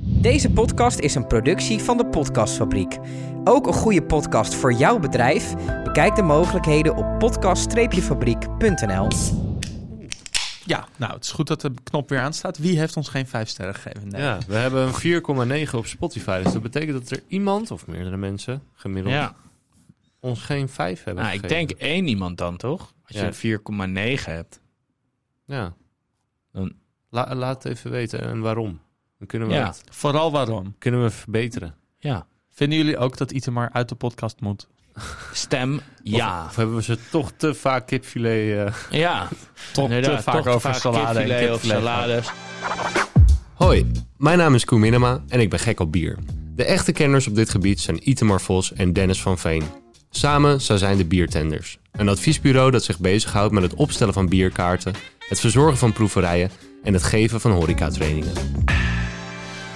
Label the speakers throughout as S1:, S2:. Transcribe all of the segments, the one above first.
S1: Deze podcast is een productie van de Podcastfabriek. Ook een goede podcast voor jouw bedrijf? Bekijk de mogelijkheden op podcast-fabriek.nl.
S2: Ja, nou, het is goed dat de knop weer aanstaat. Wie heeft ons geen vijf sterren gegeven? Nee.
S3: Ja, we hebben een 4,9 op Spotify. Dus dat betekent dat er iemand, of meerdere mensen, gemiddeld,
S4: Ja.
S3: ons geen 5 hebben
S4: Nou, ik
S3: gegeven.
S4: denk één iemand dan toch? Als
S3: Ja.
S4: je een 4,9 hebt.
S3: Ja.
S4: Dan-
S3: La- laat het even weten en waarom. Dan kunnen we,
S4: Ja.
S3: het,
S2: Vooral waarom?
S3: kunnen we verbeteren.
S4: Ja.
S2: Vinden jullie ook dat Itemar uit de podcast moet?
S4: Stem ja.
S3: Of hebben we ze toch te vaak kipfilet... eh,
S4: Ja.
S2: Toch
S4: Inderdaad,
S2: te vaak
S4: toch
S2: over
S4: vaak
S2: salade en
S4: kipfilet of
S2: kipfilet.
S4: salades.
S3: Hoi, mijn naam is Koen Minema en ik ben gek op bier. De echte kenners op dit gebied zijn Itemar Vos en Dennis van Veen. Samen zij zijn de Biertenders. Een adviesbureau dat zich bezighoudt met het opstellen van bierkaarten, het verzorgen van proeverijen en het geven van horecatrainingen.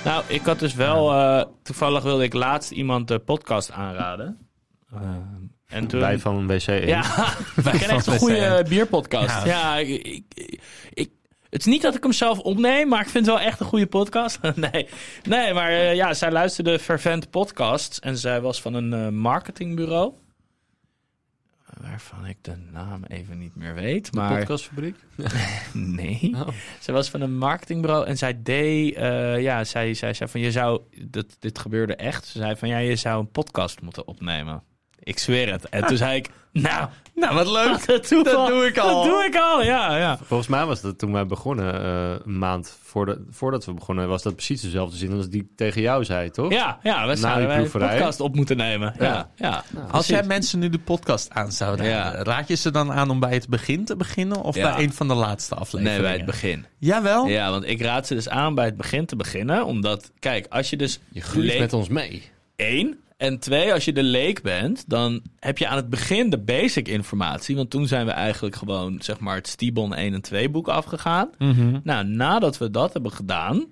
S4: Nou, ik had dus wel... eh, toevallig wilde ik laatst iemand de podcast aanraden.
S2: Eh,
S4: Ehm, en toen...
S3: Wij van WC1.
S4: Ja, ik ken echt
S2: van
S4: een goede
S2: WC1.
S4: bierpodcast. Ja,
S2: Ja.
S4: ik, ik, ik- het is niet dat ik hem zelf opneem, maar ik vind het wel echt een goede podcast. nee, nee, maar eh, ja, zij luisterde Fervent Podcasts en zij was van een eh, marketingbureau. Waarvan ik de naam even niet meer weet, maar...
S3: Podcastfabriek?
S4: Nee.
S3: Oh.
S4: Zij was van een marketingbureau en zij deed, eh, ja, zij, zij zei van je zou, dat, dit gebeurde echt. Ze zei van ja, je zou een podcast moeten opnemen. Ik zweer het. En toen zei ik, nou,
S2: Nou, wat leuk.
S4: dat,
S2: Dat doe ik al.
S4: Dat doe ik al, ja. ja.
S3: Volgens mij was dat toen wij begonnen, eh, een maand voordat, voordat we begonnen, was dat precies dezelfde zin als die ik tegen jou zei, toch?
S4: Ja, ja we zouden
S3: die
S4: wij een
S3: proeverij.
S4: podcast op moeten nemen. Ja, Nou, ja.
S2: Als jij mensen nu de podcast aan zou raden,
S4: Ja.
S2: raad je ze dan aan om bij het begin te beginnen of
S4: Ja.
S2: bij een van de laatste afleveringen?
S4: Nee, bij het begin.
S2: Jawel?
S4: Ja, want ik raad ze dus aan bij het begin te beginnen. Omdat, kijk, als je dus
S3: Je groeit
S4: le-
S3: met ons mee.
S4: één. En twee, als je de leek bent, dan heb je aan het begin de basic informatie. Want toen zijn we eigenlijk gewoon, zeg maar, het Stibon 1 en 2 boek afgegaan.
S2: Mhm.
S4: Nou, nadat we dat hebben gedaan,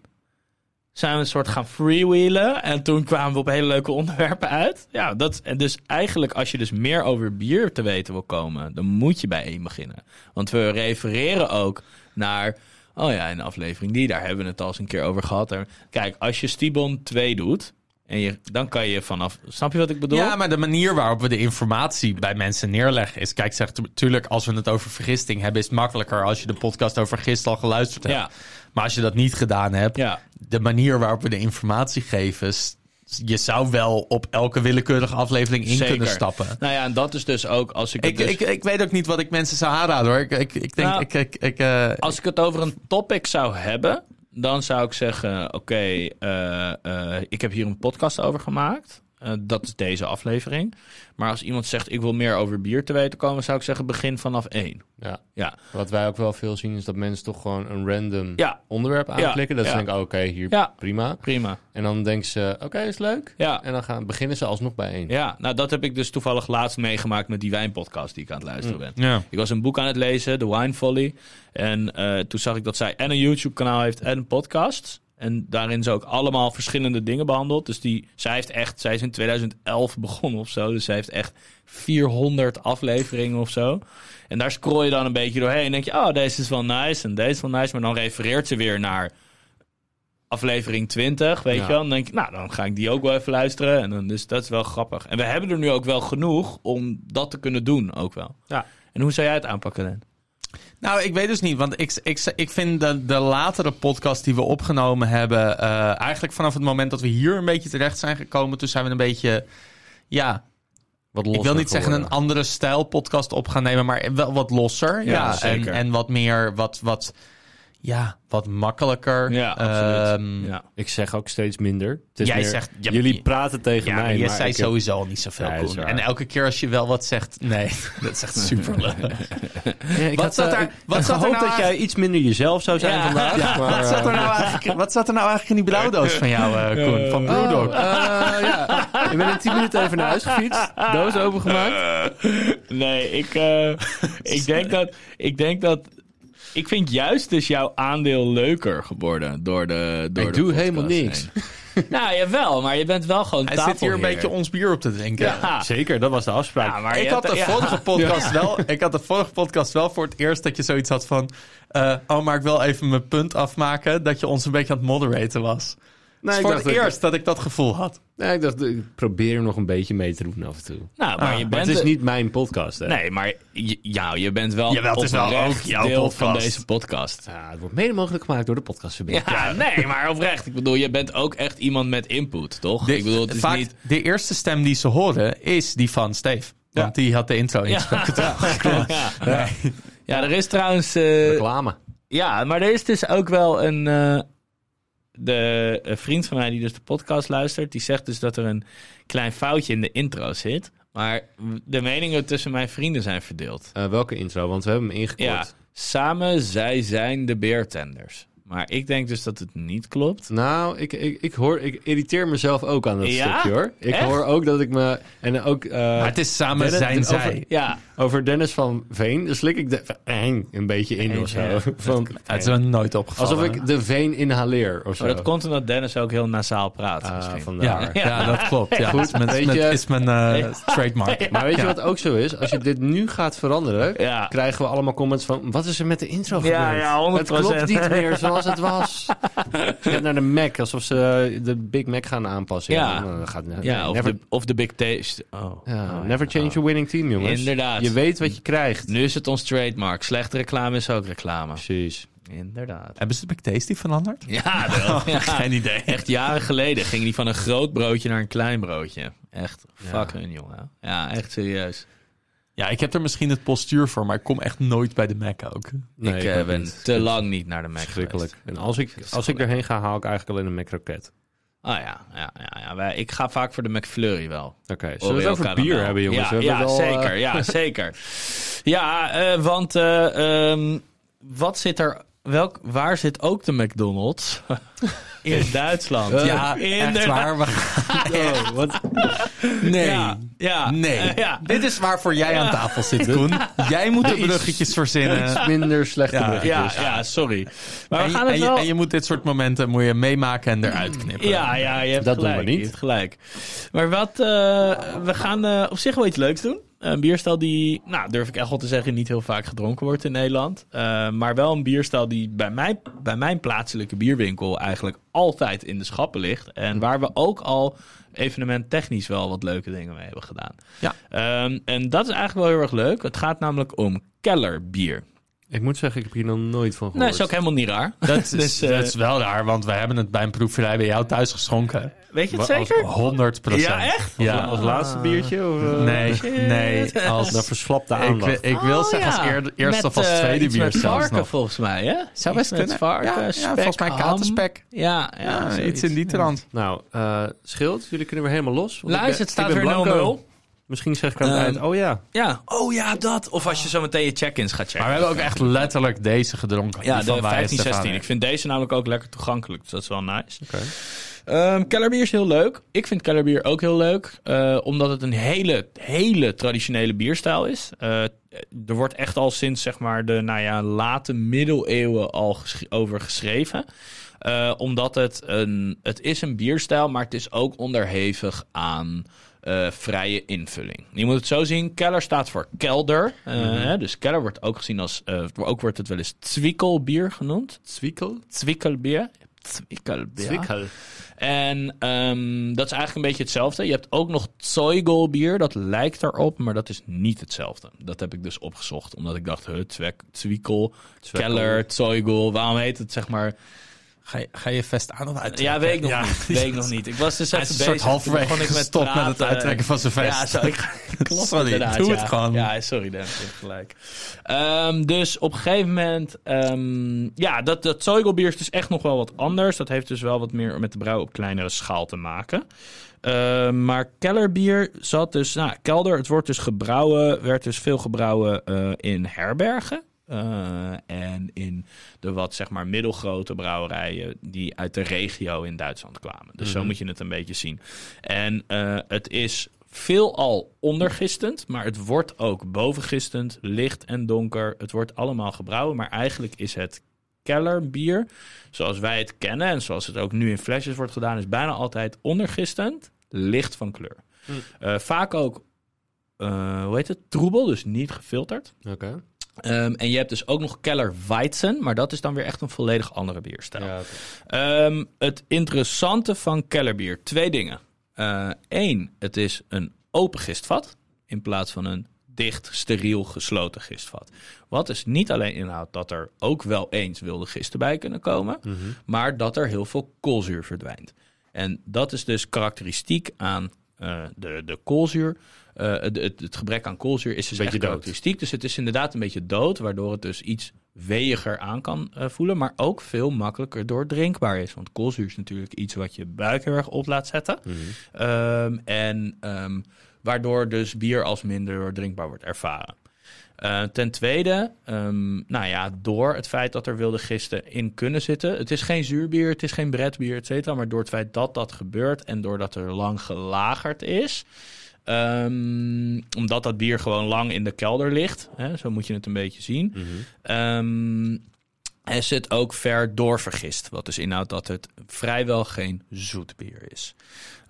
S4: zijn we een soort gaan freewheelen. En toen kwamen we op hele leuke onderwerpen uit. Ja, dat, en dus eigenlijk als je dus meer over bier te weten wil komen, dan moet je bij één beginnen. Want we refereren ook naar, oh ja, een aflevering die, daar hebben we het al eens een keer over gehad. En Kijk, als je Stibon 2 doet, en je, dan kan je vanaf, snap je wat ik bedoel?
S2: Ja, maar de manier waarop we de informatie bij mensen neerleggen is... Kijk, zeg, natuurlijk, als we het over vergisting hebben... is het makkelijker als je de podcast over gist al geluisterd hebt.
S4: Ja.
S2: Maar als je dat niet gedaan hebt,
S4: Ja.
S2: de manier waarop we de informatie geven... s- je zou wel op elke willekeurige aflevering in
S4: Zeker.
S2: kunnen stappen.
S4: Nou ja, en dat is dus ook als ik, het
S2: Ik,
S4: dus-
S2: ik, ik weet ook niet wat ik mensen zou aanraden, hoor. Ik, ik, ik denk...
S4: Nou,
S2: ik, ik, ik, eh,
S4: Als ik het over een topic zou hebben, dan zou ik zeggen: Oké, eh, eh, ik heb hier een podcast over gemaakt. Eh, dat is deze aflevering. Maar als iemand zegt: Ik wil meer over bier te weten komen, zou ik zeggen: Begin vanaf één.
S3: Ja.
S4: Ja,
S3: Wat wij ook wel veel zien is dat mensen toch gewoon een random
S4: Ja.
S3: onderwerp aanklikken. Dat ze
S4: Ja.
S3: denken, oh, oké, hier
S4: Ja.
S3: prima.
S4: prima.
S3: En dan denken ze, oké, is leuk.
S4: Ja.
S3: En dan gaan, beginnen ze alsnog bij één.
S4: ja, nou dat heb ik dus toevallig laatst meegemaakt met die wijnpodcast die ik aan het luisteren ben.
S2: ja.
S4: Ik was een boek aan het lezen, The Wine Folly. En eh, toen zag ik dat zij en een YouTube-kanaal heeft en een podcast. En daarin ze ook allemaal verschillende dingen behandeld. Dus die, zij, heeft echt, zij is in 2011 begonnen of zo. Dus zij heeft echt 400 afleveringen of zo. En daar scroll je dan een beetje doorheen. En denk je, oh, deze is wel nice en deze is wel nice. Maar dan refereert ze weer naar aflevering 20, weet
S3: Ja.
S4: je wel. Dan denk ik, nou, dan ga ik die ook wel even luisteren. En dan, dus dat is wel grappig. En we hebben er nu ook wel genoeg om dat te kunnen doen ook wel.
S2: Ja.
S4: En hoe zou jij het aanpakken, dan?
S2: Nou, ik weet dus niet, want ik, ik, ik vind de, de latere podcast die we opgenomen hebben... eh, eigenlijk vanaf het moment dat we hier een beetje terecht zijn gekomen... toen zijn we een beetje, ja,
S3: Wat
S2: ik wil niet zeggen een andere stijl podcast op gaan nemen... maar wel wat losser, ja,
S4: zeker.
S2: En, en wat meer, wat, wat, ja, wat makkelijker.
S4: Ja, absoluut.
S2: Ehm,
S4: ja.
S3: Ik zeg ook steeds minder. Het is
S2: Jij
S3: meer,
S2: zegt- je-
S3: jullie praten tegen
S2: Ja, maar
S3: mij.
S2: je
S3: maar
S2: zei
S3: ik heb-
S2: sowieso al niet zoveel,
S3: Ja, is
S2: Koen.
S3: waar.
S2: En elke keer als je wel wat zegt... Nee, dat is echt superleuk.
S3: Ja, ik
S2: Wat
S3: had,
S2: zat
S3: eh,
S2: daar-
S3: ik
S2: wat
S3: had
S2: zat er nou
S3: gehoopt dat jij
S2: eigenlijk-
S3: iets minder jezelf zou zijn
S4: Ja.
S3: vandaag. maar,
S2: Wat zat, er nou eigenlijk, wat zat er nou eigenlijk in die blauwdoos van jou, eh, Koen? Van
S3: eh,
S2: Brewdog?
S3: oh, eh, ja. Ik ben in 10 minuten even naar huis gefietst. Doos opengemaakt.
S4: Eh, Nee, ik, eh, ik, denk dat, ik denk dat... Ik vind juist dus jouw aandeel leuker geworden door de door
S3: Ik
S4: de
S3: doe
S4: podcast
S3: helemaal niks.
S4: heen. nou, jawel, maar je bent wel gewoon
S2: Hij zit hier een beetje ons bier op te drinken.
S4: Ja.
S3: Zeker, dat was de afspraak.
S4: Ja, maar je
S2: Ik had,
S4: hebt-
S2: de
S4: ja.
S2: vorige podcast wel, ik had de vorige podcast wel voor het eerst dat je zoiets had van... eh, oh, maar ik wil even mijn punt afmaken dat je ons een beetje aan het moderaten was.
S3: Nee,
S2: is
S3: ik
S2: voor
S3: dacht
S2: het
S3: dat ik-
S2: eerst dat ik dat gevoel had.
S3: Nee, ik dacht, ik probeer hem nog een beetje mee te roepen af en toe.
S4: Nou, maar
S2: Ah,
S4: je
S2: maar
S4: bent...
S3: het is niet mijn podcast, hè?
S4: Nee, maar je, ja, je bent wel
S2: Jawel, het is wel
S4: oprecht
S2: ook jouw
S4: deel van
S2: podcast.
S4: deze podcast.
S3: Ja, het wordt mede mogelijk gemaakt door de podcastverbinding.
S4: Ja, nee, maar oprecht. Ik bedoel, je bent ook echt iemand met input, toch?
S2: De,
S4: ik bedoel, het is
S2: vaak,
S4: niet...
S2: de eerste stem die ze horen is die van Steve. Want die had de intro ingesproken.
S4: Ja. Ja. ja, er is trouwens... eh,
S3: Reclame.
S4: ja, maar er is dus ook wel een... eh, de een vriend van mij die dus de podcast luistert, die zegt dus dat er een klein foutje in de intro zit. Maar de meningen tussen mijn vrienden zijn verdeeld.
S3: Eh, welke intro? Want we hebben hem ingekort.
S4: Ja, samen, zij zijn de beertenders. Maar ik denk dus dat het niet klopt.
S3: Nou, ik, ik, ik, hoor, ik irriteer mezelf ook aan dat
S4: Ja?
S3: stukje, hoor. Ik
S4: Echt?
S3: hoor ook dat ik me... En ook eh,
S2: Maar het is samen
S3: Dennis-
S2: zijn
S3: over-
S2: zij.
S4: Ja,
S3: over Dennis van Veen, dus slik ik de eng een beetje in of
S4: Ja.
S3: zo. Van,
S2: Het is me nooit opgevallen.
S3: alsof ik de veen inhaleer of zo.
S4: maar Oh, dat komt omdat Dennis ook heel nasaal praat.
S3: Ah,
S4: misschien.
S3: vandaar.
S2: ja, ja, dat klopt. Ja,
S3: Goed,
S2: is mijn,
S3: weet
S2: met-
S3: je-
S2: is mijn eh, trademark.
S3: Maar weet je wat ook zo is? Als je dit nu gaat veranderen,
S4: Ja.
S3: krijgen we allemaal comments van... Wat is er met de intro gebeurd?
S4: Ja, ja, 100%.
S3: Het klopt niet meer zoals het was. Je gaat naar de Mac, alsof ze eh, de Big Mac gaan aanpassen.
S4: Ja.
S3: dan eh, gaat,
S4: Ja, of,
S3: never,
S4: de, of de Big Taste. Oh.
S3: ja,
S4: Oh,
S3: never
S4: ja.
S3: change your winning team, jongens.
S4: Inderdaad.
S3: Je weet wat je krijgt.
S4: Nu is het ons trademark. Slechte reclame is ook reclame.
S3: Precies.
S4: Inderdaad.
S2: Hebben ze de McTasty veranderd?
S4: Ja, wel. Ja.
S2: Geen idee.
S4: Echt jaren geleden ging die van een groot broodje naar een klein broodje. Echt, fuck hun, jongen. Ja, echt serieus.
S2: Ja, ik heb er misschien het postuur voor, maar ik kom echt nooit bij de Mac ook.
S3: Nee,
S4: ik
S3: ik
S4: eh,
S3: ook
S4: ben
S3: niet.
S4: te lang niet naar de Mac
S3: Verschrikkelijk.
S4: geweest.
S3: En als ik, als ik
S4: Verschrikkelijk.
S3: erheen ga, haal ik eigenlijk alleen een Mac-roket.
S4: Ah ja, ja, ja, ja. Wij- ik ga vaak voor de McFlurry wel.
S3: Oké, zullen we het
S4: Oreo
S3: over
S4: karamel.
S3: bier hebben, jongens?
S4: Ja,
S3: we hebben
S4: ja,
S3: wel, eh,
S4: zeker, ja, zeker. Ja, eh, want eh, ehm, wat zit er... Welk, waar zit ook de McDonald's? In
S3: Eh,
S4: Duitsland.
S2: ja, echt waar. We gaan
S3: oh,
S2: echt- Nee. Ah,
S4: Ja, ja,
S2: Nee.
S4: eh, ja.
S2: Dit is waarvoor jij aan tafel zit, Koen. Jij moet de bruggetjes verzinnen.
S3: minder slechte
S2: Ja,
S3: bruggetjes.
S4: Ja, ja, sorry. Maar
S2: En
S4: we
S2: je,
S4: gaan het
S2: en je-
S4: wel...
S2: en je moet dit soort momenten moet je meemaken en eruit knippen.
S4: Ja, ja, je hebt
S3: Dat doen
S4: gelijk.
S3: we niet.
S4: Je hebt gelijk. Maar wat, eh, we gaan eh, op zich wel iets leuks doen. Eh, Een bierstijl die, nou durf ik echt wel te zeggen, niet heel vaak gedronken wordt in Nederland. Eh, maar wel een bierstijl die bij, mij, bij mijn plaatselijke bierwinkel eigenlijk altijd in de schappen ligt. En waar we ook al evenement technisch wel wat leuke dingen mee hebben gedaan.
S2: Ja.
S4: Ehm, en dat is eigenlijk wel heel erg leuk. Het gaat namelijk om kellerbier.
S3: Ik moet zeggen, ik heb hier nog nooit van
S4: Nou,
S3: gehoord.
S4: is ook helemaal niet raar.
S2: Dat is,
S4: Dus, eh,
S2: dat is wel raar, want we hebben het bij een proeverij bij jou thuis geschonken.
S4: Weet je het
S2: Als
S4: zeker?
S2: 100
S4: Ja, echt?
S2: Ja.
S3: Als
S4: Ah.
S3: laatste biertje? Of, eh,
S2: Nee, nee.
S3: Dat
S2: Als,
S3: verslapt de
S2: ik,
S3: aandacht.
S2: ik wil
S4: Oh,
S2: zeggen als
S4: ja.
S2: eer- eerste
S4: Met,
S2: of als
S4: eh,
S2: tweede
S4: iets
S2: bier
S4: met
S2: zelfs
S4: varken,
S2: nog.
S4: volgens mij, hè?
S2: Zou
S4: Iets
S2: best
S4: met
S2: kunnen.
S4: varken,
S2: Ja, ja,
S4: spek,
S2: volgens mij
S4: ham.
S2: katerspek.
S4: Ja, ja,
S2: Ja,
S4: zoiets.
S2: iets in die trant.
S3: Nou, eh scheelt. Jullie kunnen weer helemaal los. want
S4: Luister,
S3: ik ben-
S4: het staat
S3: ik ben
S4: weer 0
S3: blanco. Misschien zeg ik aan het
S4: Ehm,
S3: eind, oh ja.
S4: Ja. Oh ja, dat. Of als je zo meteen je check-ins gaat checken.
S2: Maar we hebben ook echt letterlijk deze gedronken.
S4: ja,
S2: Die
S4: de
S2: van Wijs
S4: 15,
S2: Stefan.
S4: 16. Ik vind deze namelijk ook lekker toegankelijk. Dus dat is wel nice. Ehm, Kellerbier is heel leuk. Ik vind Kellerbier ook heel leuk. eh, omdat het een hele, hele traditionele bierstijl is. Eh, er wordt echt al sinds zeg maar, de nou ja, late middeleeuwen al gesch- over geschreven. Eh, omdat het een, het is een bierstijl, maar het is ook onderhevig aan eh, vrije invulling. Je moet het zo zien, keller staat voor kelder. eh, hè, dus keller wordt ook gezien als, eh, ook wordt het wel eens zwikkelbier genoemd.
S3: Zwiekel?
S4: Zwikkelbier. Zwikkelbier.
S3: Zwiekel.
S4: En ehm, dat is eigenlijk een beetje hetzelfde. Je hebt ook nog Zeugel bier, dat lijkt erop, maar dat is niet hetzelfde. Dat heb ik dus opgezocht, omdat ik dacht, huh, Zwek- Zwiekel,
S3: Zwekkel.
S4: Keller, Zeugel, waarom heet het zeg maar...
S2: Ga je, ga je vest aan of uit?
S4: Ja, weet ik nog niet. Weet ik nog niet. Ik was dus
S2: Hij
S4: even
S2: is een
S4: bezig.
S2: soort halverwege
S4: Toen begon ik
S2: gestopt met het
S4: praten.
S2: uittrekken van zijn vest.
S4: Ja, zo, ik, klopt
S2: Sorry,
S4: inderdaad,
S2: doe
S4: ja.
S2: het gewoon.
S4: Ja, sorry Dennis, je hebt gelijk. Ehm, dus op een gegeven moment... ehm, ja, dat, dat Zeugelbier is dus echt nog wel wat anders. Dat heeft dus wel wat meer met de brouw op kleinere schaal te maken. Ehm, maar kellerbier zat dus... Nou, kelder, het wordt dus gebrouwen... werd dus veel gebrouwen eh, in herbergen. eh, en in de wat zeg maar middelgrote brouwerijen die uit de regio in Duitsland kwamen. Dus zo moet je het een beetje zien. En eh, het is veelal ondergistend, maar het wordt ook bovengistend, licht en donker. Het wordt allemaal gebrouwen, maar eigenlijk is het kellerbier, zoals wij het kennen en zoals het ook nu in flesjes wordt gedaan, is bijna altijd ondergistend, licht van kleur. Eh, vaak ook, eh, hoe heet het, troebel, dus niet gefilterd.
S3: Oké.
S4: Ehm, en je hebt dus ook nog Keller Weizen, maar dat is dan weer echt een volledig andere bierstijl.
S2: Ja,
S4: Ehm, het interessante van Kellerbier, twee dingen. Eén, het is een open gistvat in plaats van een dicht, steriel, gesloten gistvat. Wat is niet alleen inhoudt dat er ook wel eens wilde gisten bij kunnen komen,
S3: Mhm.
S4: maar dat er heel veel koolzuur verdwijnt. En dat is dus karakteristiek aan eh, de, de koolzuur. Eh, het, het, het gebrek aan koolzuur is dus
S3: Beetje
S4: echt
S3: dood.
S4: karakteristiek. Dus het is inderdaad een beetje dood, waardoor het dus iets weeiger aan kan eh, voelen, maar ook veel makkelijker doordrinkbaar is. Want koolzuur is natuurlijk iets wat je buik heel erg op laat zetten. Ehm, en ehm, waardoor dus bier als minder drinkbaar wordt ervaren. Eh, ten tweede, ehm, nou ja, door het feit dat er wilde gisten in kunnen zitten. Het is geen zuurbier, het is geen bretbier, et cetera. Maar door het feit dat dat gebeurt en doordat er lang gelagerd is. ehm, omdat dat bier gewoon lang in de kelder ligt. Hè, zo moet je het een beetje zien. Ehm en zit ook ver doorvergist. Wat dus inhoudt dat het vrijwel geen zoet bier is.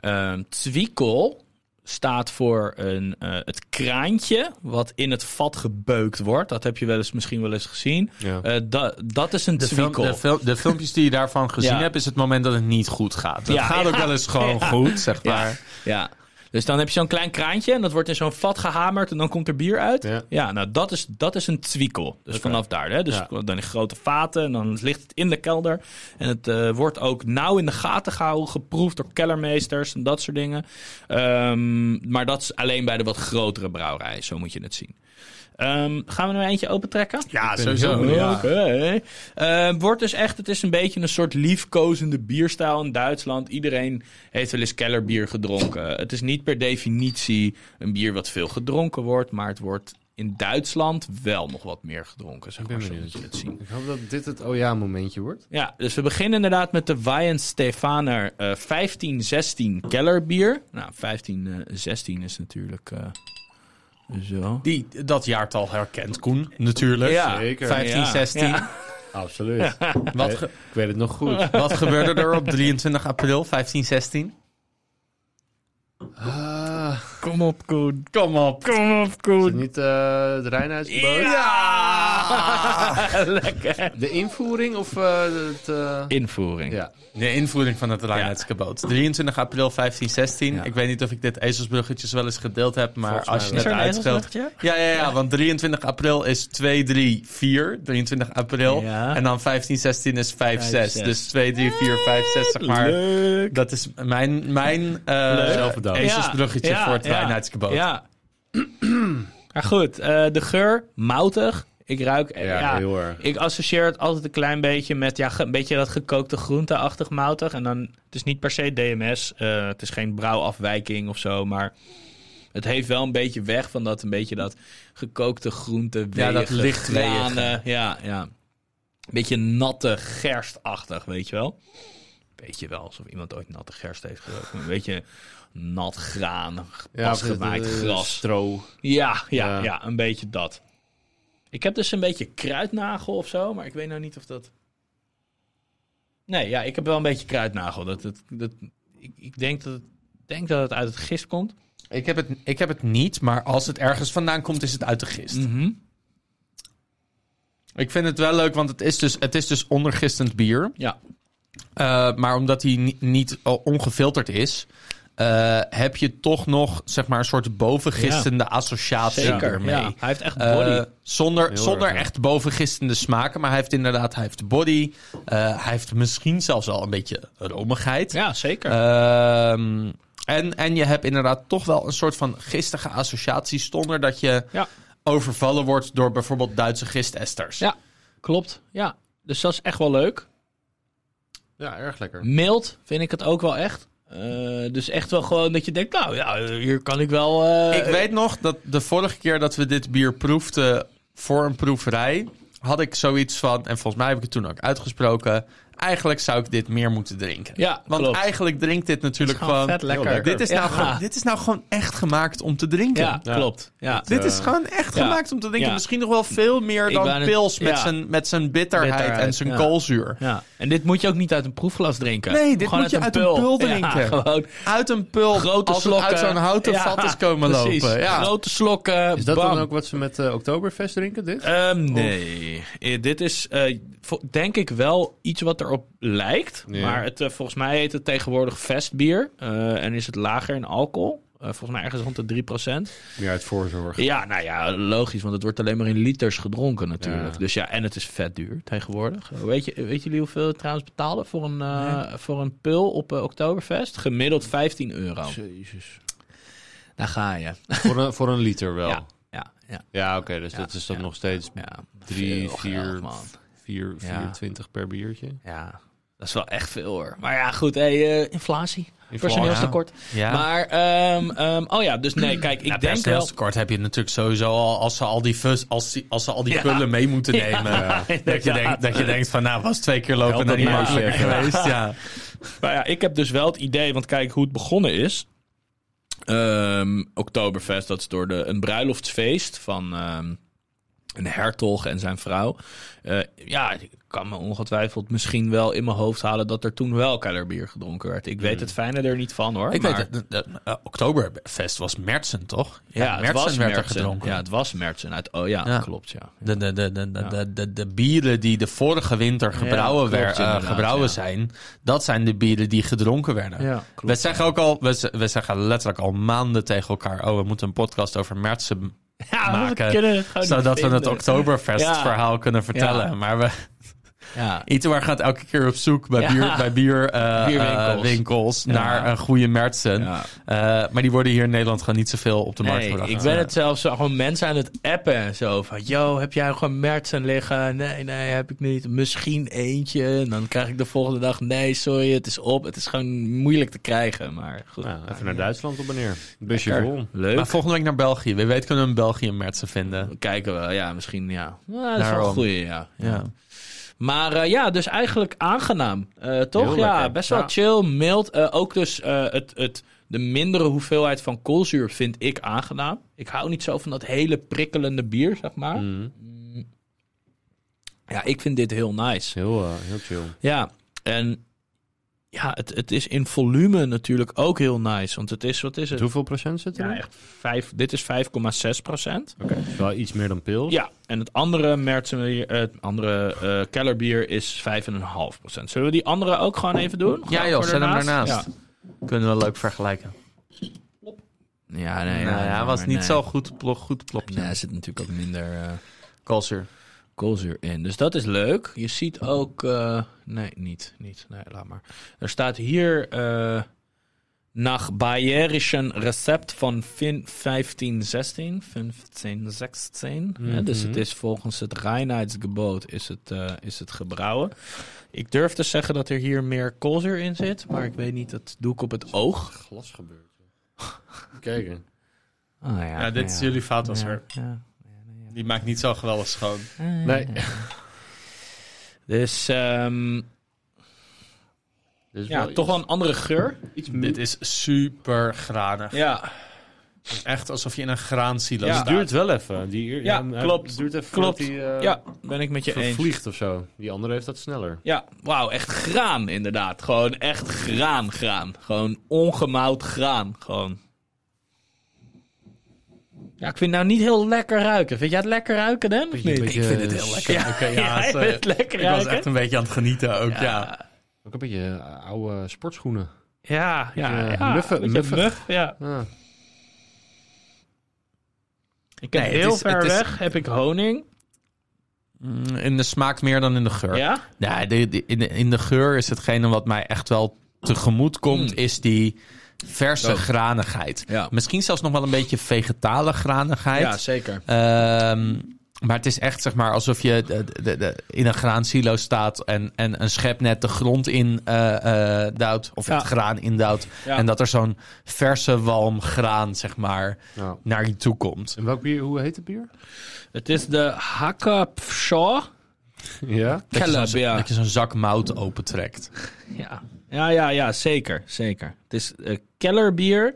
S4: Ehm Twiekel staat voor een, eh, het kraantje wat in het vat gebeukt wordt. Dat heb je wel eens, misschien wel eens gezien.
S3: Ja.
S4: Eh, da- dat is een
S2: De, film-
S4: twiekel.
S2: de, film- de filmpjes die je daarvan gezien
S4: Ja.
S2: hebt, is het moment dat het niet goed gaat. Het
S4: Ja.
S2: gaat ook wel eens gewoon goed, zeg
S4: Ja.
S2: maar.
S4: Ja. Dus dan heb je zo'n klein kraantje en dat wordt in zo'n vat gehamerd en dan komt er bier uit.
S3: Ja.
S4: Ja, nou dat is, dat is een twiekel. Dus vanaf daar. Hè? Dus
S3: Ja.
S4: dan in grote vaten en dan ligt het in de kelder. En het eh, wordt ook nauw in de gaten gehouden, geproefd door kellermeesters en dat soort dingen. Ehm, maar dat is alleen bij de wat grotere brouwerij, zo moet je het zien. Ehm, gaan we nu eentje opentrekken?
S2: Ja,
S3: sowieso.
S4: Oké.
S2: Ja.
S4: Eh, wordt dus echt, het is een beetje een soort liefkozende bierstijl in Duitsland. Iedereen heeft wel eens kellerbier gedronken. Het is niet per definitie een bier wat veel gedronken wordt, maar het wordt in Duitsland wel nog wat meer gedronken. Zeg
S3: ben
S4: maar, zo
S3: benieuwd.
S4: moet je het zien.
S3: Ik hoop dat dit het oh ja momentje wordt.
S4: Ja, dus we beginnen inderdaad met de Wijn Stefaner 1516 kellerbier. Nou, 1516 is natuurlijk eh, zo.
S2: Die dat jaartal herkent Koen, natuurlijk.
S4: Ja,
S3: zeker.
S2: 15,
S4: Ja.
S2: 16.
S4: Ja.
S3: Absoluut.
S2: Wat, ge-
S3: Ik weet het nog goed.
S2: wat gebeurde er op 23 april 15, 16?
S3: Ah,
S4: Kom op, Koen.
S2: Kom op.
S4: Kom op,
S3: is
S4: Koen.
S3: het niet eh het Rijnhuisboot?
S4: Ja! Lekker.
S3: De invoering of eh, het... eh,
S4: Invoering.
S3: ja.
S2: De invoering van het Rijnheidskaboot. 23 april 1516. Ik weet niet of ik dit ezelsbruggetjes wel eens gedeeld heb, maar
S3: Volgens
S2: als je
S3: mij
S2: het
S4: wel. Is er een
S2: uitstelt. Ja,
S4: ezelsbruggetje?
S2: ja, ja, want 23 april is 2, 3, 4. 23 april.
S4: Ja.
S2: En dan 15, 16 is 5, 6.
S4: 6.
S2: Dus 2, 3, 4, 5, 6, zeg maar.
S4: Leuk.
S2: Dat is mijn, mijn eh
S3: Zelfbedankt.
S2: ezelsbruggetje
S4: Ja,
S2: voor het
S4: ja.
S2: Rijnheidskaboot.
S4: Ja. maar goed, eh, de geur, moutig. Ik ruik... eh,
S3: Ja,
S4: Ja,
S3: heel erg.
S4: Ik associeer het altijd een klein beetje met ja, ge- een beetje dat gekookte groenteachtig moutig. En dan, het is niet per se DMS. eh, het is geen brouwafwijking of zo, maar... Het heeft wel een beetje weg van dat een beetje dat gekookte groente,
S2: Ja, dat
S4: weeige,
S2: licht
S4: granen.
S2: weeige.
S4: Ja, ja. Beetje natte, gerstachtig, weet je wel. Weet je wel, alsof iemand ooit natte gerst heeft geroken. Een beetje nat graan,
S3: Ja, of het,
S4: pasgemaaid
S3: eh,
S4: gras.
S3: Stro.
S4: Ja, ja,
S3: Ja.
S4: ja, een beetje dat. Ik heb dus een beetje kruidnagel of zo, maar ik weet nou niet of dat... Nee, ja, ik heb wel een beetje kruidnagel. Dat, dat, dat, ik ik denk, dat het, denk dat het uit het gist komt.
S2: Ik, heb het, ik heb het niet, maar als het ergens vandaan komt, is het uit de gist.
S4: Mhm.
S2: Ik vind het wel leuk, want het is dus, het is dus ondergistend bier.
S4: Ja.
S2: Eh, maar omdat hij ni- niet al ongefilterd is, eh, heb je toch nog zeg maar, een soort bovengistende associatie
S4: Zeker,
S2: ermee.
S4: ja. Hij heeft echt
S2: Eh,
S4: body.
S2: zonder
S3: erg,
S2: zonder
S3: ja.
S2: echt bovengistende smaken. Maar hij heeft inderdaad hij heeft body. eh, hij heeft misschien zelfs al een beetje romigheid.
S4: ja, zeker.
S2: eh, Ehm, en, en je hebt inderdaad toch wel een soort van gistige associatie zonder dat je
S4: Ja.
S2: overvallen wordt door bijvoorbeeld Duitse gistesters.
S4: ja, klopt. Ja, dus dat is echt wel leuk.
S3: Ja, erg lekker.
S4: Mild vind ik het ook wel echt. Eh, dus echt wel gewoon dat je denkt, nou ja, hier kan ik wel... eh,
S2: Ik weet nog dat de vorige keer dat we dit bier proefden voor een proeverij, had ik zoiets van, en volgens mij heb ik het toen ook uitgesproken, Eigenlijk zou ik dit meer moeten drinken.
S4: Ja,
S2: Want
S4: klopt.
S2: eigenlijk drinkt dit natuurlijk
S5: gewoon
S2: gewoon.
S5: vet lekker.
S2: Yo, Dit is, nou
S4: Ja.
S2: gewoon, dit is nou gewoon echt gemaakt om te drinken.
S4: Ja, klopt. Ja.
S2: Dit is gewoon echt
S4: ja.
S2: gemaakt om te drinken.
S4: Ja.
S2: Misschien nog wel veel meer
S4: Ik
S2: dan
S4: wou net-
S2: pils met
S4: ja.
S2: zijn met zijn bitterheid,
S5: Bitterheid,
S2: en zijn
S4: ja.
S2: koolzuur.
S4: Ja. En dit moet je ook niet uit een proefglas drinken.
S2: Nee, dit
S4: Gewoon
S2: moet je uit een pul drinken.
S4: Ja, gewoon
S2: Uit een pul,
S4: grote
S2: als het
S4: slokken.
S2: uit zo'n houten
S4: Ja,
S2: vat is komen
S4: precies.
S2: lopen. Ja.
S4: Grote slokken.
S3: Is dat
S4: bam.
S3: dan ook wat ze met eh, Oktoberfest drinken, dit?
S4: Ehm, nee, Eh, dit is eh, vo- denk ik wel iets wat erop lijkt.
S3: Ja.
S4: Maar het, eh, volgens mij heet het tegenwoordig festbier. eh, en is het lager in alcohol. Eh, volgens mij ergens rond de 3%.
S3: Meer uit voorzorg.
S4: Ja, nou ja, logisch, want het wordt alleen maar in liters gedronken natuurlijk.
S3: Ja.
S4: Dus ja, en het is vet duur tegenwoordig. Weet, je, weet jullie hoeveel we trouwens betalen voor een, eh, voor een pul op eh, Oktoberfest? Gemiddeld 15 euro.
S3: Jezus.
S4: Daar ga je.
S3: Voor een, voor een liter wel.
S4: Ja,
S3: Ja,
S4: ja, ja.
S3: oké, dus dat is dan
S4: ja.
S3: nog steeds
S4: ja.
S3: drie,
S4: Veel
S3: vier,
S4: geld, man.
S3: vier,
S4: Ja.
S3: 24 per biertje.
S4: Ja, dat is wel echt veel hoor. Maar ja, goed, hey, eh inflatie. Personeelstekort.
S2: Ja.
S4: Maar, ehm, ehm, oh ja, dus nee, kijk, ik
S2: Nou,
S4: denk wel...
S2: personeelstekort heb je natuurlijk sowieso al als ze al die, fus, als die, als ze al die
S4: Ja.
S2: spullen mee moeten nemen. eh, dat, je
S4: inderdaad.
S2: denkt, dat je denkt van nou was twee keer lopen
S3: Help
S2: naar
S3: dat
S2: die
S3: meisje
S2: makkelijker geweest. Ja.
S4: Nou ja, ik heb dus wel het idee, want kijk hoe het begonnen is. Ehm, Oktoberfest, dat is door de, een bruiloftsfeest van ehm, een hertog en zijn vrouw. Eh, ja, ik kan me ongetwijfeld misschien wel in mijn hoofd halen dat er toen wel kellerbier gedronken werd. Ik weet het fijne er niet van hoor.
S2: Hmm. Ik
S4: maar,
S2: weet het, de- de- eh, Oktoberfest was Mertsen toch?
S4: Ja, het was
S2: werd er
S4: Mertsen.
S2: gedronken.
S4: Ja, het was Mertsen. Uit, oh ja,
S2: Ja.
S4: klopt ja.
S2: De, de, de, de, de, de, de, de bieren die de vorige winter gebrouwen,
S4: klopt,
S2: wer- eh,
S4: inderdaad,
S2: gebrouwen
S4: ja.
S2: zijn, dat zijn de bieren die gedronken werden.
S4: Ja, klopt,
S2: we zeggen ook al, we, z- we zeggen letterlijk al maanden tegen elkaar: oh, we moeten een podcast over Mertsen
S4: Ja,
S2: maken. zodat we het Oktoberfest
S4: Oh, Ja.
S2: verhaal kunnen vertellen.
S4: Ja.
S2: Maar we,
S4: Ja,
S2: Itoar gaat elke keer op zoek bij
S4: Ja.
S2: bier, bij bier, eh,
S4: Bierwinkels.
S2: eh, winkels
S4: Ja.
S2: naar een goede Mertsen.
S4: Ja.
S2: Eh, maar die worden hier in Nederland gewoon niet zoveel op de markt
S4: Nee,
S2: gebracht.
S4: ik ben het zelfs zo- gewoon mensen aan het appen en zo. Van, yo, heb jij gewoon Mertsen liggen? Nee, nee, heb ik niet. Misschien eentje. En dan krijg ik de volgende dag, nee, sorry, het is op. Het is gewoon moeilijk te krijgen, maar goed.
S3: Nou, even naar Duitsland op wanneer. Busje
S4: Lekker.
S3: vol.
S4: Leuk.
S2: Maar volgende week naar België. Wie weet kunnen we in België een Mertsen vinden.
S4: we kijken we, ja, misschien, ja. Ja, dat is wel
S2: Daarom.
S4: een goeie, ja.
S2: Ja.
S4: Maar eh, ja, dus eigenlijk aangenaam. Eh, toch?
S3: Heel
S4: Ja,
S3: lekker.
S4: best wel
S3: Ja.
S4: chill, mild. Eh, ook dus eh, het, het, de mindere hoeveelheid van koolzuur vind ik aangenaam. Ik hou niet zo van dat hele prikkelende bier, zeg maar.
S3: Mm.
S4: Ja, ik vind dit heel nice.
S3: Heel, eh, heel chill.
S4: Ja, en ja, het, het is in volume natuurlijk ook heel nice. Want het is, wat is
S3: Met
S4: het?
S3: hoeveel procent zit
S4: Ja,
S3: er?
S4: echt vijf, dit is 5,6 procent.
S3: in? Wel iets meer dan pils.
S4: Ja, en het andere Mertsenbier, eh, het andere eh, kellerbier is 5,5 procent. Zullen we die andere ook gewoon even doen? Gewoon
S2: joh,
S4: voor
S2: zet hem daarnaast.
S4: Ja.
S2: Kunnen we leuk vergelijken.
S4: Ja, nee,
S2: nou,
S4: ja,
S2: ja,
S4: nee,
S2: was
S4: maar
S2: niet
S4: nee.
S2: zo goed, plo- goed plopje.
S4: Nee, er zit natuurlijk ook minder eh,
S2: Koolzuur.
S4: koolzuur in. Dus dat is leuk. Je ziet ook... eh, nee, niet. niet. Nee, laat maar. Er staat hier... eh nach bayerischen recept van fin 1516. 1516. Hè, dus het is volgens het reinheidsgebod is het, eh, is het gebrouwen. Ik durf te zeggen dat er hier meer koolzuur in zit. Maar ik weet niet, dat doe ik op het oog.
S3: Glas gebeurt. Kijken.
S4: Ah, ja,
S2: Ja, dit is jullie fout was er.
S4: Ja.
S2: Die maakt niet zo geweldig schoon.
S3: Nee,
S4: Dus ehm,
S3: dit is
S4: ja,
S3: wel
S4: toch wel een andere geur.
S3: iets
S2: Dit is super granig.
S4: Ja,
S2: Echt alsof je in een graansilo
S4: Ja.
S2: staat.
S3: Het duurt wel even. Die,
S4: Ja,
S3: hij-
S4: klopt.
S3: Het duurt even
S4: Klopt.
S3: voordat die eh,
S4: ja, ben ik met je eens.
S3: vervliegt of zo. Die andere heeft dat sneller.
S4: Ja, wauw, echt graan inderdaad. Gewoon echt graan, graan. Gewoon ongemouwd graan, gewoon. Ja, ik vind het nou niet heel lekker ruiken. Vind jij het lekker ruiken, Dan? Of niet?
S3: beetje, eh,
S4: Ja,
S2: Oké, ja,
S4: jij
S2: het, eh,
S4: vindt het lekker
S2: Ik was
S4: ruiken?
S2: echt een beetje aan het genieten ook, ja.
S3: Ook een beetje eh, oude sportschoenen.
S4: Ja, ja,
S3: Beetje, eh,
S4: ja.
S3: muffe-
S4: Beetje
S3: muffig.
S4: muff, ja.
S3: Ah.
S4: Ik heb
S2: Nee, het
S4: heel
S2: is-
S4: ver
S2: het is-
S4: weg, heb ik honing.
S2: Mm, In de smaak meer dan in de geur.
S4: Ja?
S2: Nee, de- de- in, de, in de geur is hetgene wat mij echt wel tegemoet komt,
S4: Mm. Oh.
S2: is die verse granigheid.
S4: Ja.
S2: Misschien zelfs nog wel een beetje vegetale
S4: Ja,
S2: granigheid.
S4: zeker.
S2: Ehm, maar het is echt zeg maar alsof je de- de- de- de- in een graansilo staat en, en een schep net de grond in eh, eh, duwt. Of
S4: Ja.
S2: het graan indouwt.
S4: Ja.
S2: En dat er zo'n verse walm graan zeg maar
S3: Nou.
S2: naar je toe komt.
S3: En welk bier, hoe heet het bier?
S4: Het is de Hakka Pshaw
S3: Ja?
S2: Dat je zo'n-
S4: Calabria.
S2: Dat je zo'n zak mout opentrekt.
S4: Ja, ja, ja, ja zeker, zeker. Het is eh, Keller bier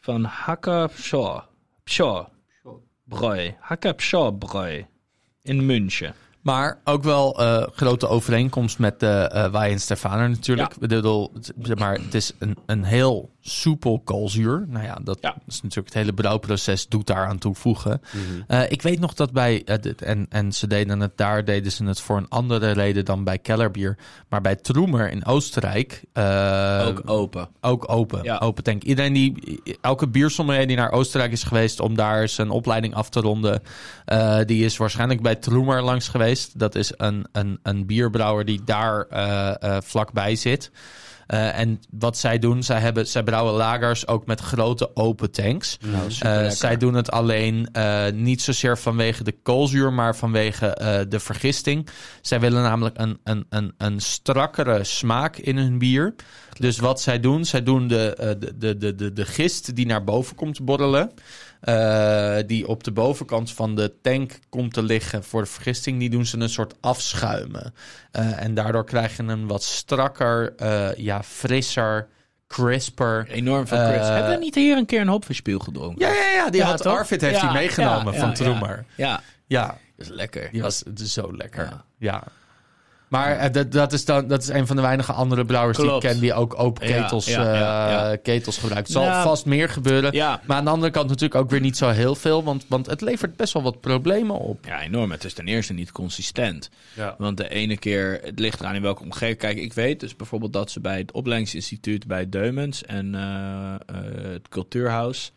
S4: van Hakka Pshaw. Pshaw. Bräu. Hakka Pshaw Bräu. In München.
S2: Maar ook wel eh, grote overeenkomst met de eh Wai en Stefaner natuurlijk.
S4: Ja.
S2: Ik bedoel, het- zeg maar het is een, een heel soepel koolzuur. Nou ja, dat
S4: Ja. Mhm.
S2: is natuurlijk het hele brouwproces doet daar aan toevoegen. Eh, ik weet nog dat bij, eh, dit- en, en ze deden het daar, deden ze het voor een andere reden dan bij Kellerbier. Maar bij Troemer in Oostenrijk... eh,
S4: Ook open.
S2: ook open.
S4: Ja.
S2: Open tank. Iedereen die, elke biersommelier die naar Oostenrijk is geweest om daar zijn opleiding af te ronden, eh, die is waarschijnlijk bij Troemer langs geweest. Dat is een, een, een bierbrouwer die daar eh, eh, vlakbij zit. Eh, en wat zij doen, zij, hebben, zij brouwen lagers ook met grote open tanks. Eh, zij doen het alleen eh, niet zozeer vanwege de koolzuur, maar vanwege eh, de vergisting. Zij willen namelijk een, een, een, een strakkere smaak in hun bier. Dus wat zij doen, zij doen de, eh, de, de, de, de, de gist die naar boven komt borrelen. eh, die op de bovenkant van de tank komt te liggen voor de vergisting, die doen ze een soort afschuimen. Eh, en daardoor krijg je een wat strakker, eh, ja, frisser, crisper.
S4: Enorm veel crisps.
S2: Eh,
S4: Hebben we niet hier een keer een hopverspiel gedronken?
S2: Ja, ja, ja, die
S4: Ja,
S2: had
S4: toch?
S2: Arvid heeft
S4: Ja,
S2: die meegenomen
S4: ja,
S2: van
S4: ja,
S2: Troemer.
S4: Ja, ja.
S2: Ja.
S4: dat is lekker.
S2: die was het is zo lekker. Ja.
S4: Ja.
S2: Maar eh, dat, dat, is dan, dat is een van de weinige andere brouwers die ik
S4: Klopt.
S2: ken die ook open
S4: Ja,
S2: ketels,
S4: ja, ja,
S2: eh, ketels gebruikt. Zal
S4: Ja.
S2: vast meer gebeuren.
S4: Ja.
S2: Maar aan de andere kant natuurlijk ook weer niet zo heel veel, want, want het levert best wel wat problemen op.
S4: Ja, enorm. Het is ten eerste niet consistent.
S3: Ja.
S4: Want de ene keer, het ligt eraan in welke omgeving. Kijk, ik weet dus bijvoorbeeld dat ze bij het opleidingsinstituut bij Deumens en eh, eh, het cultuurhuis,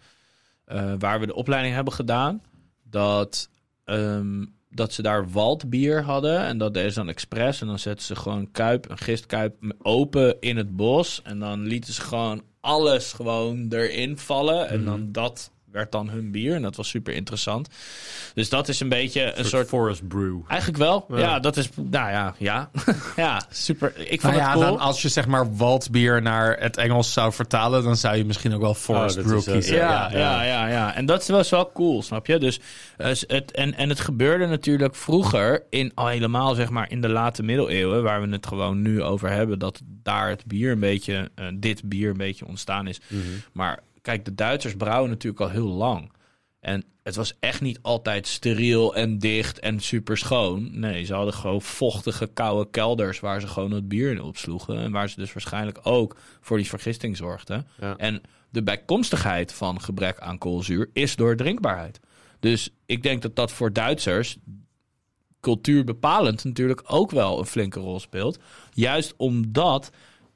S4: eh, waar we de opleiding hebben gedaan, dat, ehm, dat ze daar waldbier hadden. En dat deden ze dan expres. En dan zetten ze gewoon een kuip, een gistkuip m- open in het bos. En dan lieten ze gewoon alles gewoon erin vallen. En dan dat werd dan hun bier. En dat was super interessant. Dus dat is een beetje een soort
S3: forest brew.
S4: Eigenlijk wel. Ja, dat is. Nou ja, ja. ja, super. Ik vond
S2: Nou ja,
S4: het cool.
S2: dan als je zeg maar waldbier naar het Engels zou vertalen, dan zou je misschien ook Oh, wel Forest
S3: dat is
S2: Brew
S3: ook-
S2: kiezen.
S4: ja,
S3: ja,
S4: ja, ja, ja, En dat was wel cool, snap je? Dus eh, s- het, en, en het gebeurde natuurlijk vroeger, in, al helemaal zeg maar in de late middeleeuwen, waar we het gewoon nu over hebben, dat daar het bier een beetje, eh, dit bier een beetje ontstaan is. Maar kijk, de Duitsers brouwen natuurlijk al heel lang. En het was echt niet altijd steriel en dicht en super schoon. Nee, ze hadden gewoon vochtige, koude kelders waar ze gewoon het bier in opsloegen. En waar ze dus waarschijnlijk ook voor die vergisting zorgden.
S3: Ja.
S4: En de bijkomstigheid van gebrek aan koolzuur is door drinkbaarheid. Dus ik denk dat dat voor Duitsers cultuurbepalend natuurlijk ook wel een flinke rol speelt. Juist omdat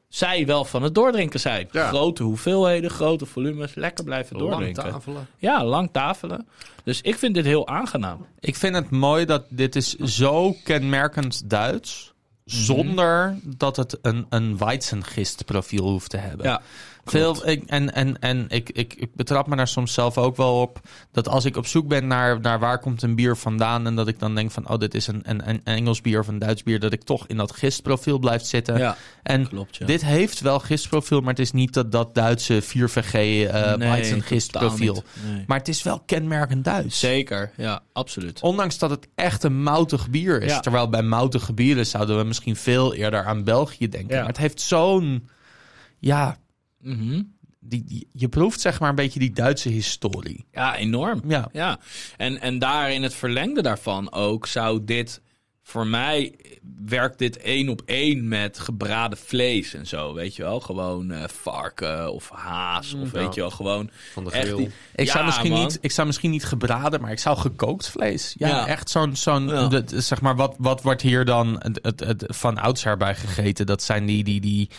S4: zij wel van het doordrinken zijn.
S3: Ja.
S4: Grote hoeveelheden, grote volumes, lekker blijven doordrinken. Ja, lang tafelen. Dus ik vind dit heel aangenaam.
S2: Ik vind het mooi dat dit is zo kenmerkend Duits.
S4: Mhm.
S2: Zonder dat het een, een Weizengist-profiel hoeft te hebben.
S4: Ja,
S2: Veel, ik, en en, en ik, ik, ik betrap me daar soms zelf ook wel op. Dat als ik op zoek ben naar, naar waar komt een bier vandaan. En dat ik dan denk van, oh, dit is een, een, een Engels bier of een Duits bier. Dat ik toch in dat gistprofiel blijf zitten.
S4: Ja,
S2: en
S4: klopt, ja.
S2: dit heeft wel gistprofiel, maar het is niet dat, dat Duitse 4VG eh
S4: Nee,
S2: Weizengist-profiel.
S4: totaal niet. Nee.
S2: Maar het is wel kenmerkend Duits.
S4: Zeker, ja, absoluut.
S2: Ondanks dat het echt een moutig bier is.
S4: Ja.
S2: Terwijl bij moutige bieren zouden we misschien veel eerder aan België denken.
S4: Ja.
S2: Maar het heeft zo'n. Ja,
S4: Mhm.
S2: die, die- je proeft zeg maar een beetje die Duitse historie.
S4: Ja, enorm.
S2: Ja.
S4: Ja. En, en daar in het verlengde daarvan ook zou dit. Voor mij werkt dit één op één met gebraden vlees en zo. Weet je wel? Gewoon eh, varken of haas. Of weet je wel, gewoon.
S3: Van de
S4: echt
S3: grill.
S4: die-
S2: Ik,
S4: Ja,
S2: zou misschien
S4: man.
S2: niet, ik zou misschien niet gebraden, maar ik zou gekookt vlees. Ja,
S4: Ja.
S2: echt zo'n. zo'n
S4: Ja.
S2: dat- Zeg maar, wat, wat wordt hier dan het, het, het van oudsher bij gegeten? Dat zijn die. die, die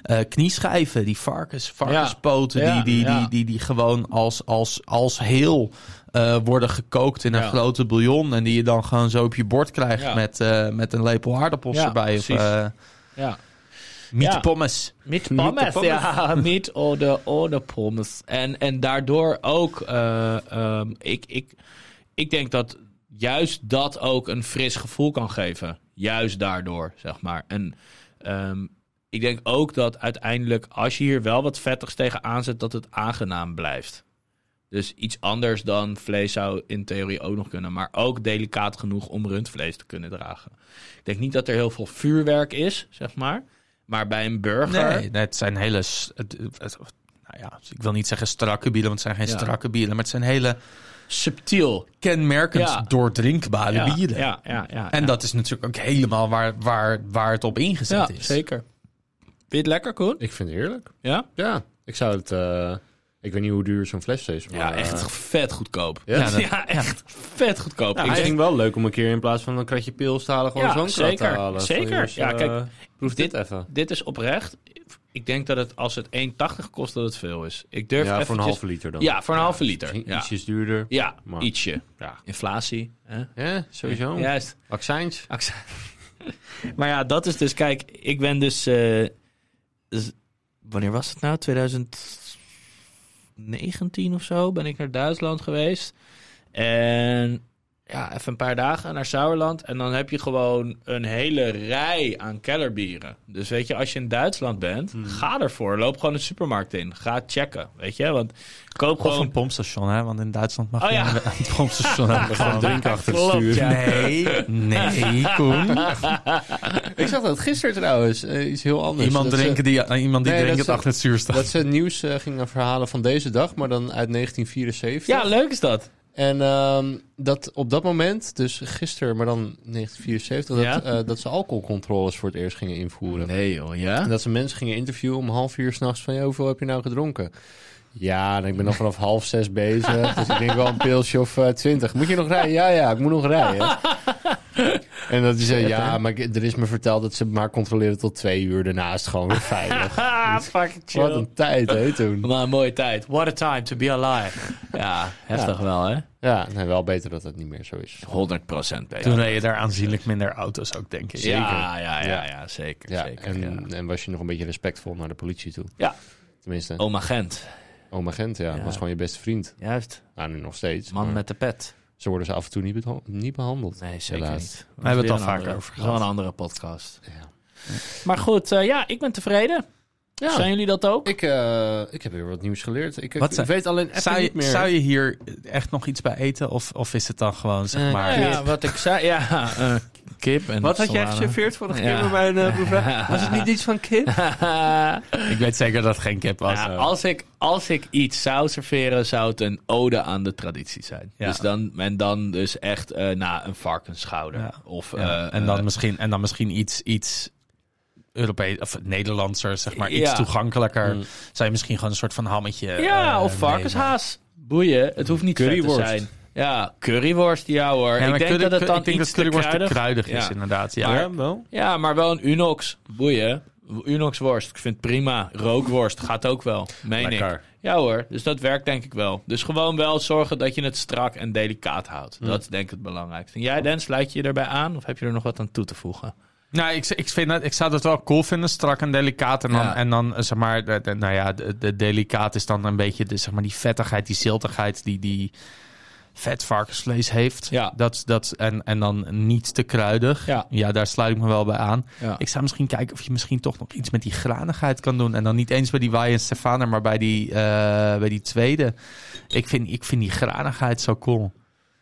S2: eh, knieschijven, die varkens, varkenspoten,
S4: Ja,
S2: die, die,
S4: ja.
S2: Die, die, die gewoon als, als, als heel eh, worden gekookt in een
S4: Ja.
S2: grote bouillon. En die je dan gewoon zo op je bord krijgt
S4: Ja.
S2: met, eh, met een lepel aardappels
S4: Ja,
S2: erbij. Of
S4: precies.
S2: eh
S4: Ja.
S2: meatpommes.
S4: Met
S3: pommes,
S4: pommes, ja. Met ode, ode pommes. En, en daardoor ook, eh, ehm, ik, ik, ik denk dat juist dat ook een fris gevoel kan geven. Juist daardoor, zeg maar. En ehm, ik denk ook dat uiteindelijk, als je hier wel wat vettigs tegen aanzet, dat het aangenaam blijft. Dus iets anders dan vlees zou in theorie ook nog kunnen. Maar ook delicaat genoeg om rundvlees te kunnen dragen. Ik denk niet dat er heel veel vuurwerk is, zeg maar. Maar bij een burger...
S2: Nee, nee, het zijn hele. s- het- het- nou ja, ik wil niet zeggen strakke bielen, want het zijn geen
S4: Ja.
S2: strakke bielen. Maar het zijn hele
S4: Subtiel.
S2: kenmerkend
S4: Ja.
S2: doordrinkbare
S4: Ja,
S2: bieren.
S4: Ja, ja, ja.
S2: En
S4: ja.
S2: dat is natuurlijk ook helemaal waar, waar, waar het op ingezet
S4: ja,
S2: is.
S4: zeker. Vind je het lekker, Koen?
S3: Ik vind het heerlijk.
S4: Ja?
S3: Ja, ik zou het... eh, ik weet niet hoe duur zo'n fles is. Maar,
S4: Ja, echt
S3: eh,
S4: vet goedkoop.
S3: Ja,
S4: Ja,
S2: dat-
S4: echt vet goedkoop.
S3: Nou,
S4: ik
S3: misschien
S4: denk,
S3: wel leuk om een keer in plaats van een kratje pils te halen... gewoon
S4: Ja,
S3: zo'n krat te
S4: zeker,
S3: halen. Van,
S4: zeker.
S3: jongens,
S4: Ja,
S3: eh,
S4: kijk,
S3: proef dit,
S4: dit-
S3: even.
S4: dit is oprecht. Ik denk dat het als het 1,80 kost, dat het veel is. Ik durf
S3: Ja, voor een
S4: eventjes-
S3: halve liter dan.
S4: Ja, voor een halve liter.
S3: Misschien
S4: Ja,
S3: Ietsjes duurder.
S4: ja
S3: maar-
S4: ietsje.
S3: Ja.
S4: Inflatie. Hè?
S3: Ja, sowieso.
S4: Juist.
S3: Accijns.
S4: maar ja, dat is dus... Kijk, ik ben dus... eh, dus- wanneer was het nou? 2019 of zo ben ik naar Duitsland geweest. En ja, even een paar dagen naar Sauerland. En dan heb je gewoon een hele rij aan kellerbieren. Dus weet je, als je in Duitsland bent, ga ervoor. Loop gewoon de supermarkt in. Ga checken, weet je. Want koop
S2: Of
S4: gewoon...
S2: een pompstation, hè? Want in Duitsland mag
S4: Oh,
S2: je
S4: ja.
S2: een- een pompstation hebben.
S3: Gewoon
S2: Gewoon.
S3: drinken achter het
S4: Klopt,
S3: stuur.
S4: ja.
S2: Nee, nee, Koen.
S3: Ik zag dat gisteren trouwens. eh, iets heel anders.
S2: Iemand,
S3: Dat ze-
S2: drinken die, eh, iemand die
S3: Nee, dat
S2: drinkt
S3: ze-
S2: achter het zuur staat.
S3: Dat ze het nieuws eh, gingen verhalen van deze dag, maar dan uit 1974.
S4: Ja, leuk is dat.
S3: En ehm, dat op dat moment, dus gisteren, maar dan 1974, dat,
S4: Ja.
S3: eh, dat ze alcoholcontroles voor het eerst gingen invoeren.
S4: Nee joh,
S3: En
S4: ja?
S3: dat ze mensen gingen interviewen om half uur s'nachts van, "Ja, hoeveel heb je nou gedronken? Ja, en ik ben nog vanaf half zes bezig, dus ik denk wel een pilsje of eh, twintig. Moet je nog rijden? Ja, ja, ik moet nog rijden. En dat hij zei, ja, maar ik- er is me verteld dat ze het maar controleren tot twee uur. Daarna is het gewoon weer veilig.
S4: Ah, fucking chill.
S3: Wat een tijd, hè, toen.
S4: Maar een mooie tijd. What a time to be alive. Ja, heftig wel, hè?
S3: Ja, nee, wel beter dat dat niet meer zo is.
S4: 100% beter.
S2: Toen reden daar aanzienlijk minder auto's ook, denk ik.
S4: Ja, ja, ja, ja, zeker.
S3: Ja,
S4: zeker
S3: en,
S4: ja.
S3: en was je nog een beetje respectvol naar de politie toe.
S4: Ja.
S3: Tenminste,
S4: Oma Gent.
S3: oma Gent, ja,
S4: Ja.
S3: was gewoon je beste vriend.
S4: Juist.
S3: Nou, nu nog steeds.
S4: Man
S3: maar
S4: met de pet.
S3: Ze worden ze af en toe niet, beha- niet behandeld.
S4: Nee, zeker
S3: Helaas.
S4: niet.
S2: We hebben het al
S4: Weer een
S2: vaker
S4: andere-
S2: over
S4: wel
S2: gehad.
S4: een andere podcast.
S3: Ja.
S4: Maar goed, eh, ja, ik ben tevreden.
S3: Ja,
S4: Zijn jullie dat ook?
S3: ik, eh, ik heb weer wat nieuws geleerd. Ik, ik,
S2: Wat
S3: ik
S2: zei-
S3: weet alleen echt
S2: Zou je,
S3: niet meer.
S2: zou je hier echt nog iets bij eten? Of, of is het dan gewoon, zeg maar...
S4: Eh, Ja, wat ik zei. Ja, eh, kip en
S1: Wat had jij
S4: salade.
S1: geserveerd vorige keer
S4: Ja.
S1: bij mijn eh, proefje? Was het niet iets van kip?
S2: Ik weet zeker dat het geen kip was.
S4: Ja,
S2: eh.
S4: als, ik, als ik iets zou serveren, zou het een ode aan de traditie zijn.
S2: Ja.
S4: Dus dan, en dan dus echt eh na een varkensschouder.
S2: Ja.
S4: Of,
S2: Ja,
S4: eh,
S2: en, dan
S4: eh,
S2: misschien, en dan misschien iets, iets Europees, of Nederlandser, zeg maar,
S4: Ja. Mm.
S2: iets toegankelijker. Zou je misschien gewoon een soort van hammetje.
S4: ja,
S2: eh,
S4: of varkenshaas. Boeien, het hoeft niet curryworst.
S3: Curryworst.
S4: te zijn. Ja, curryworst, ja hoor.
S2: nemen. Ja,
S4: ik
S2: maar
S4: denk
S2: curry-
S4: dat het dan
S2: ik denk
S4: iets
S2: dat currywurst
S4: te kruidig...
S2: is,
S4: Ja.
S2: inderdaad. Ja,
S4: Maar-
S2: wel.
S4: Ja, maar wel een Unox. Boeien. Unox worst, ik vind het prima. Rookworst gaat ook wel, meen ik.
S2: Lekker.
S4: Ja hoor, dus dat werkt denk ik wel. Dus gewoon wel zorgen dat je het strak en delicaat houdt. Dat is denk ik het belangrijkste. En jij, Dan, sluit je je daarbij aan? Of heb je er nog wat aan toe te voegen?
S2: Nou, ik, ik, vind dat, ik zou dat wel cool vinden, strak en delicaat. En dan,
S4: Ja.
S2: en dan eh, zeg maar, de, de- nou ja, de, de delicaat is dan een beetje de, zeg maar, die vettigheid, die ziltigheid die die vet varkensvlees heeft.
S4: Ja.
S2: Dat, dat, en, en dan niet te kruidig.
S4: Ja.
S2: daar sluit ik me wel bij aan.
S4: Ja.
S2: Ik zou misschien kijken of je misschien toch nog iets met die granigheid kan doen. En dan niet eens bij die Waai en Stefaner, maar bij die, eh, bij die tweede. Ik vind, ik vind die granigheid zo cool.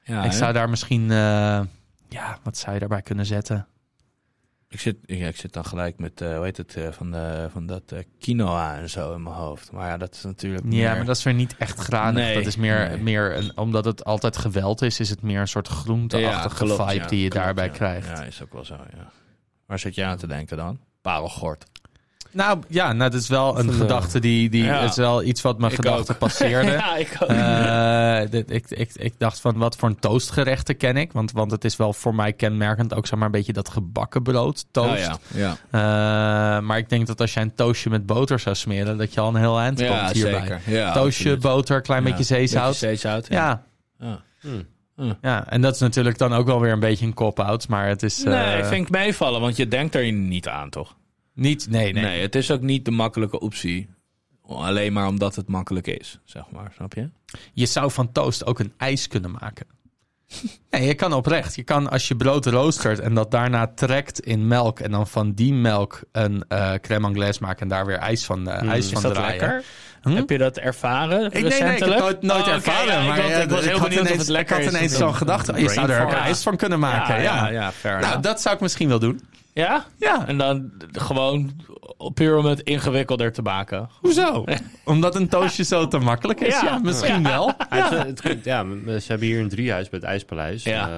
S4: Ja,
S2: ik zou daar misschien, eh, ja, wat zou je daarbij kunnen zetten?
S4: ik, zit, ja, ik zit dan gelijk met, eh, hoe heet het, eh, van, de, van dat eh, quinoa en zo in mijn hoofd. Maar ja, dat is natuurlijk
S2: Ja,
S4: meer-
S2: maar dat is weer niet echt granig.
S4: Nee,
S2: dat is meer,
S4: nee.
S2: meer een, omdat het altijd geweld is, is het meer een soort groenteachtige
S4: klopt,
S2: vibe
S4: ja,
S2: die je
S4: klopt,
S2: daarbij
S4: ja.
S2: krijgt.
S4: Ja, is ook wel zo, ja. Waar zit je aan te denken dan? Parelgort.
S2: Nou ja, nou, dat is wel een
S3: Van, eh,
S2: gedachte die, die
S4: ja.
S2: is wel iets wat mijn
S4: Ik
S2: gedachten
S4: ook.
S2: passeerde.
S4: ik ook.
S2: Eh, dit- ik, ik, ik dacht van wat voor een toastgerechten ken ik? Want, want het is wel voor mij kenmerkend ook zeg maar een beetje dat gebakken brood, toast.
S4: Oh, ja, ja.
S2: Eh, maar ik denk dat als jij een toastje met boter zou smeren, dat je al een heel eind
S4: ja
S2: komt hierbij.
S4: zeker. Ja,
S2: Toastje,
S4: absoluut.
S2: boter, klein
S4: Ja,
S2: beetje zeezout.
S4: beetje zeezout,
S2: ja,
S4: Ja.
S2: Ja, en dat is natuurlijk dan ook wel weer een beetje een cop-out, maar het is eh,
S4: Nee, vind ik meevallen, want je denkt er niet aan, toch?
S2: niet... Nee, nee.
S4: Nee. het is ook niet de makkelijke optie. Alleen maar omdat het makkelijk is, zeg maar. Snap je?
S2: Je zou van toast ook een ijs kunnen maken. nee, je kan oprecht. Je kan als je brood roostert en dat daarna trekt in melk
S4: Hmm,
S2: en dan van die melk een eh crème anglaise maken en daar weer ijs van, eh, ijs van draaien. Hm?
S4: Heb je dat ervaren
S2: Ik, nee, nee, ik heb
S4: recentelijk?
S2: het nooit, nooit
S4: Oh, oké,
S2: ervaren.
S4: ja, ik
S2: maar
S4: had-
S2: ja,
S4: ik was heel
S2: had
S4: benieuwd of
S2: ineens-
S4: het lekker
S2: Ik had
S4: is.
S2: ineens zo'n gedachte. oh, Je
S4: brain
S2: zou er een
S4: fart.
S2: ijs van kunnen maken. Ja,
S4: ja, ja, fair
S2: Nou,
S4: enough.
S2: dat zou ik misschien wel doen.
S4: ja?
S2: Ja,
S4: En dan gewoon puur om het ingewikkelder te maken.
S2: hoezo? Omdat een toastje zo te makkelijk is? Ja,
S4: Ja.
S2: misschien wel.
S3: Ja, eh, het, het klinkt- ja, m- ze hebben hier een driehuis bij het IJspaleis.
S4: Ja.
S3: eh,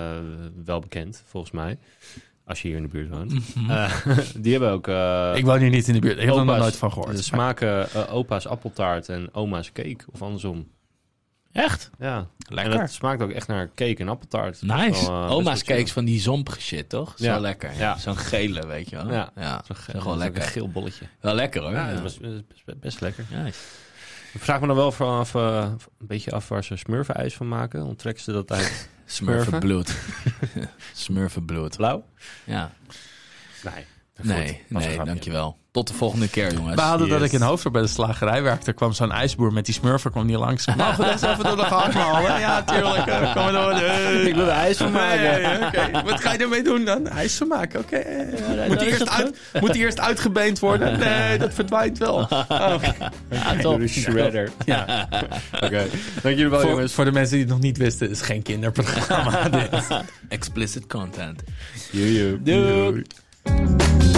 S3: wel bekend, volgens mij. Als je hier in de buurt woont. Eh, die hebben ook... eh,
S2: Ik woon hier niet in de buurt. Ik heb er nog
S3: opa's-
S2: nooit van gehoord.
S3: De smaken eh, opa's appeltaart en oma's cake. Of andersom.
S4: Echt?
S3: Ja.
S4: Lekker.
S3: En het smaakt ook echt naar cake en appeltaart. Dat is
S4: Nice.
S3: wel, eh, best wel
S5: Oma's
S3: chill.
S5: cakes van die zompige shit, toch? Zo
S3: Ja.
S5: lekker. Ja.
S3: Ja.
S5: Zo'n gele, weet je wel.
S3: Ja.
S5: Ja, Zo
S3: Dat
S5: gewoon
S3: is ook Een
S5: lekker.
S3: geel bolletje.
S5: Wel lekker hoor.
S3: Ja,
S5: Ja.
S3: dat was eh, best, best lekker.
S5: Nice.
S3: Ik vraag me dan wel vanaf, eh, een beetje af waar ze smurfenijs van maken. Onttrekken ze dat uit
S5: Smurfenbloed. Smurfenbloed.
S3: blauw?
S5: Ja.
S3: Nee.
S5: Nee,
S3: was een
S5: nee,
S3: grapje.
S5: dankjewel. Tot de volgende keer, jongens.
S2: We hadden dat
S5: Yes.
S2: ik in Hoofddorp bij de slagerij werkte. Er kwam zo'n ijsboer met die smurfer, kwam niet langs. Mag we dat eens even door de gang halen? Ja, tuurlijk. eh, Kom maar door. eh.
S4: Ik wil er ijs van maken.
S2: Nee, eh, oké. Wat ga je ermee doen dan? IJs van maken, oké. eh, Moet,
S4: is
S2: die eerst
S4: het
S2: uit- moet die eerst uitgebeend worden? Nee, dat verdwijnt wel. Oh,
S3: Door de shredder.
S2: ja.
S3: Oké. Dank jullie wel,
S2: voor,
S3: jongens.
S2: Oh, voor de mensen die het nog niet wisten, is geen kinderprogramma dit.
S5: Explicit content.
S3: Joe, joe.
S4: Doei.
S2: Doei.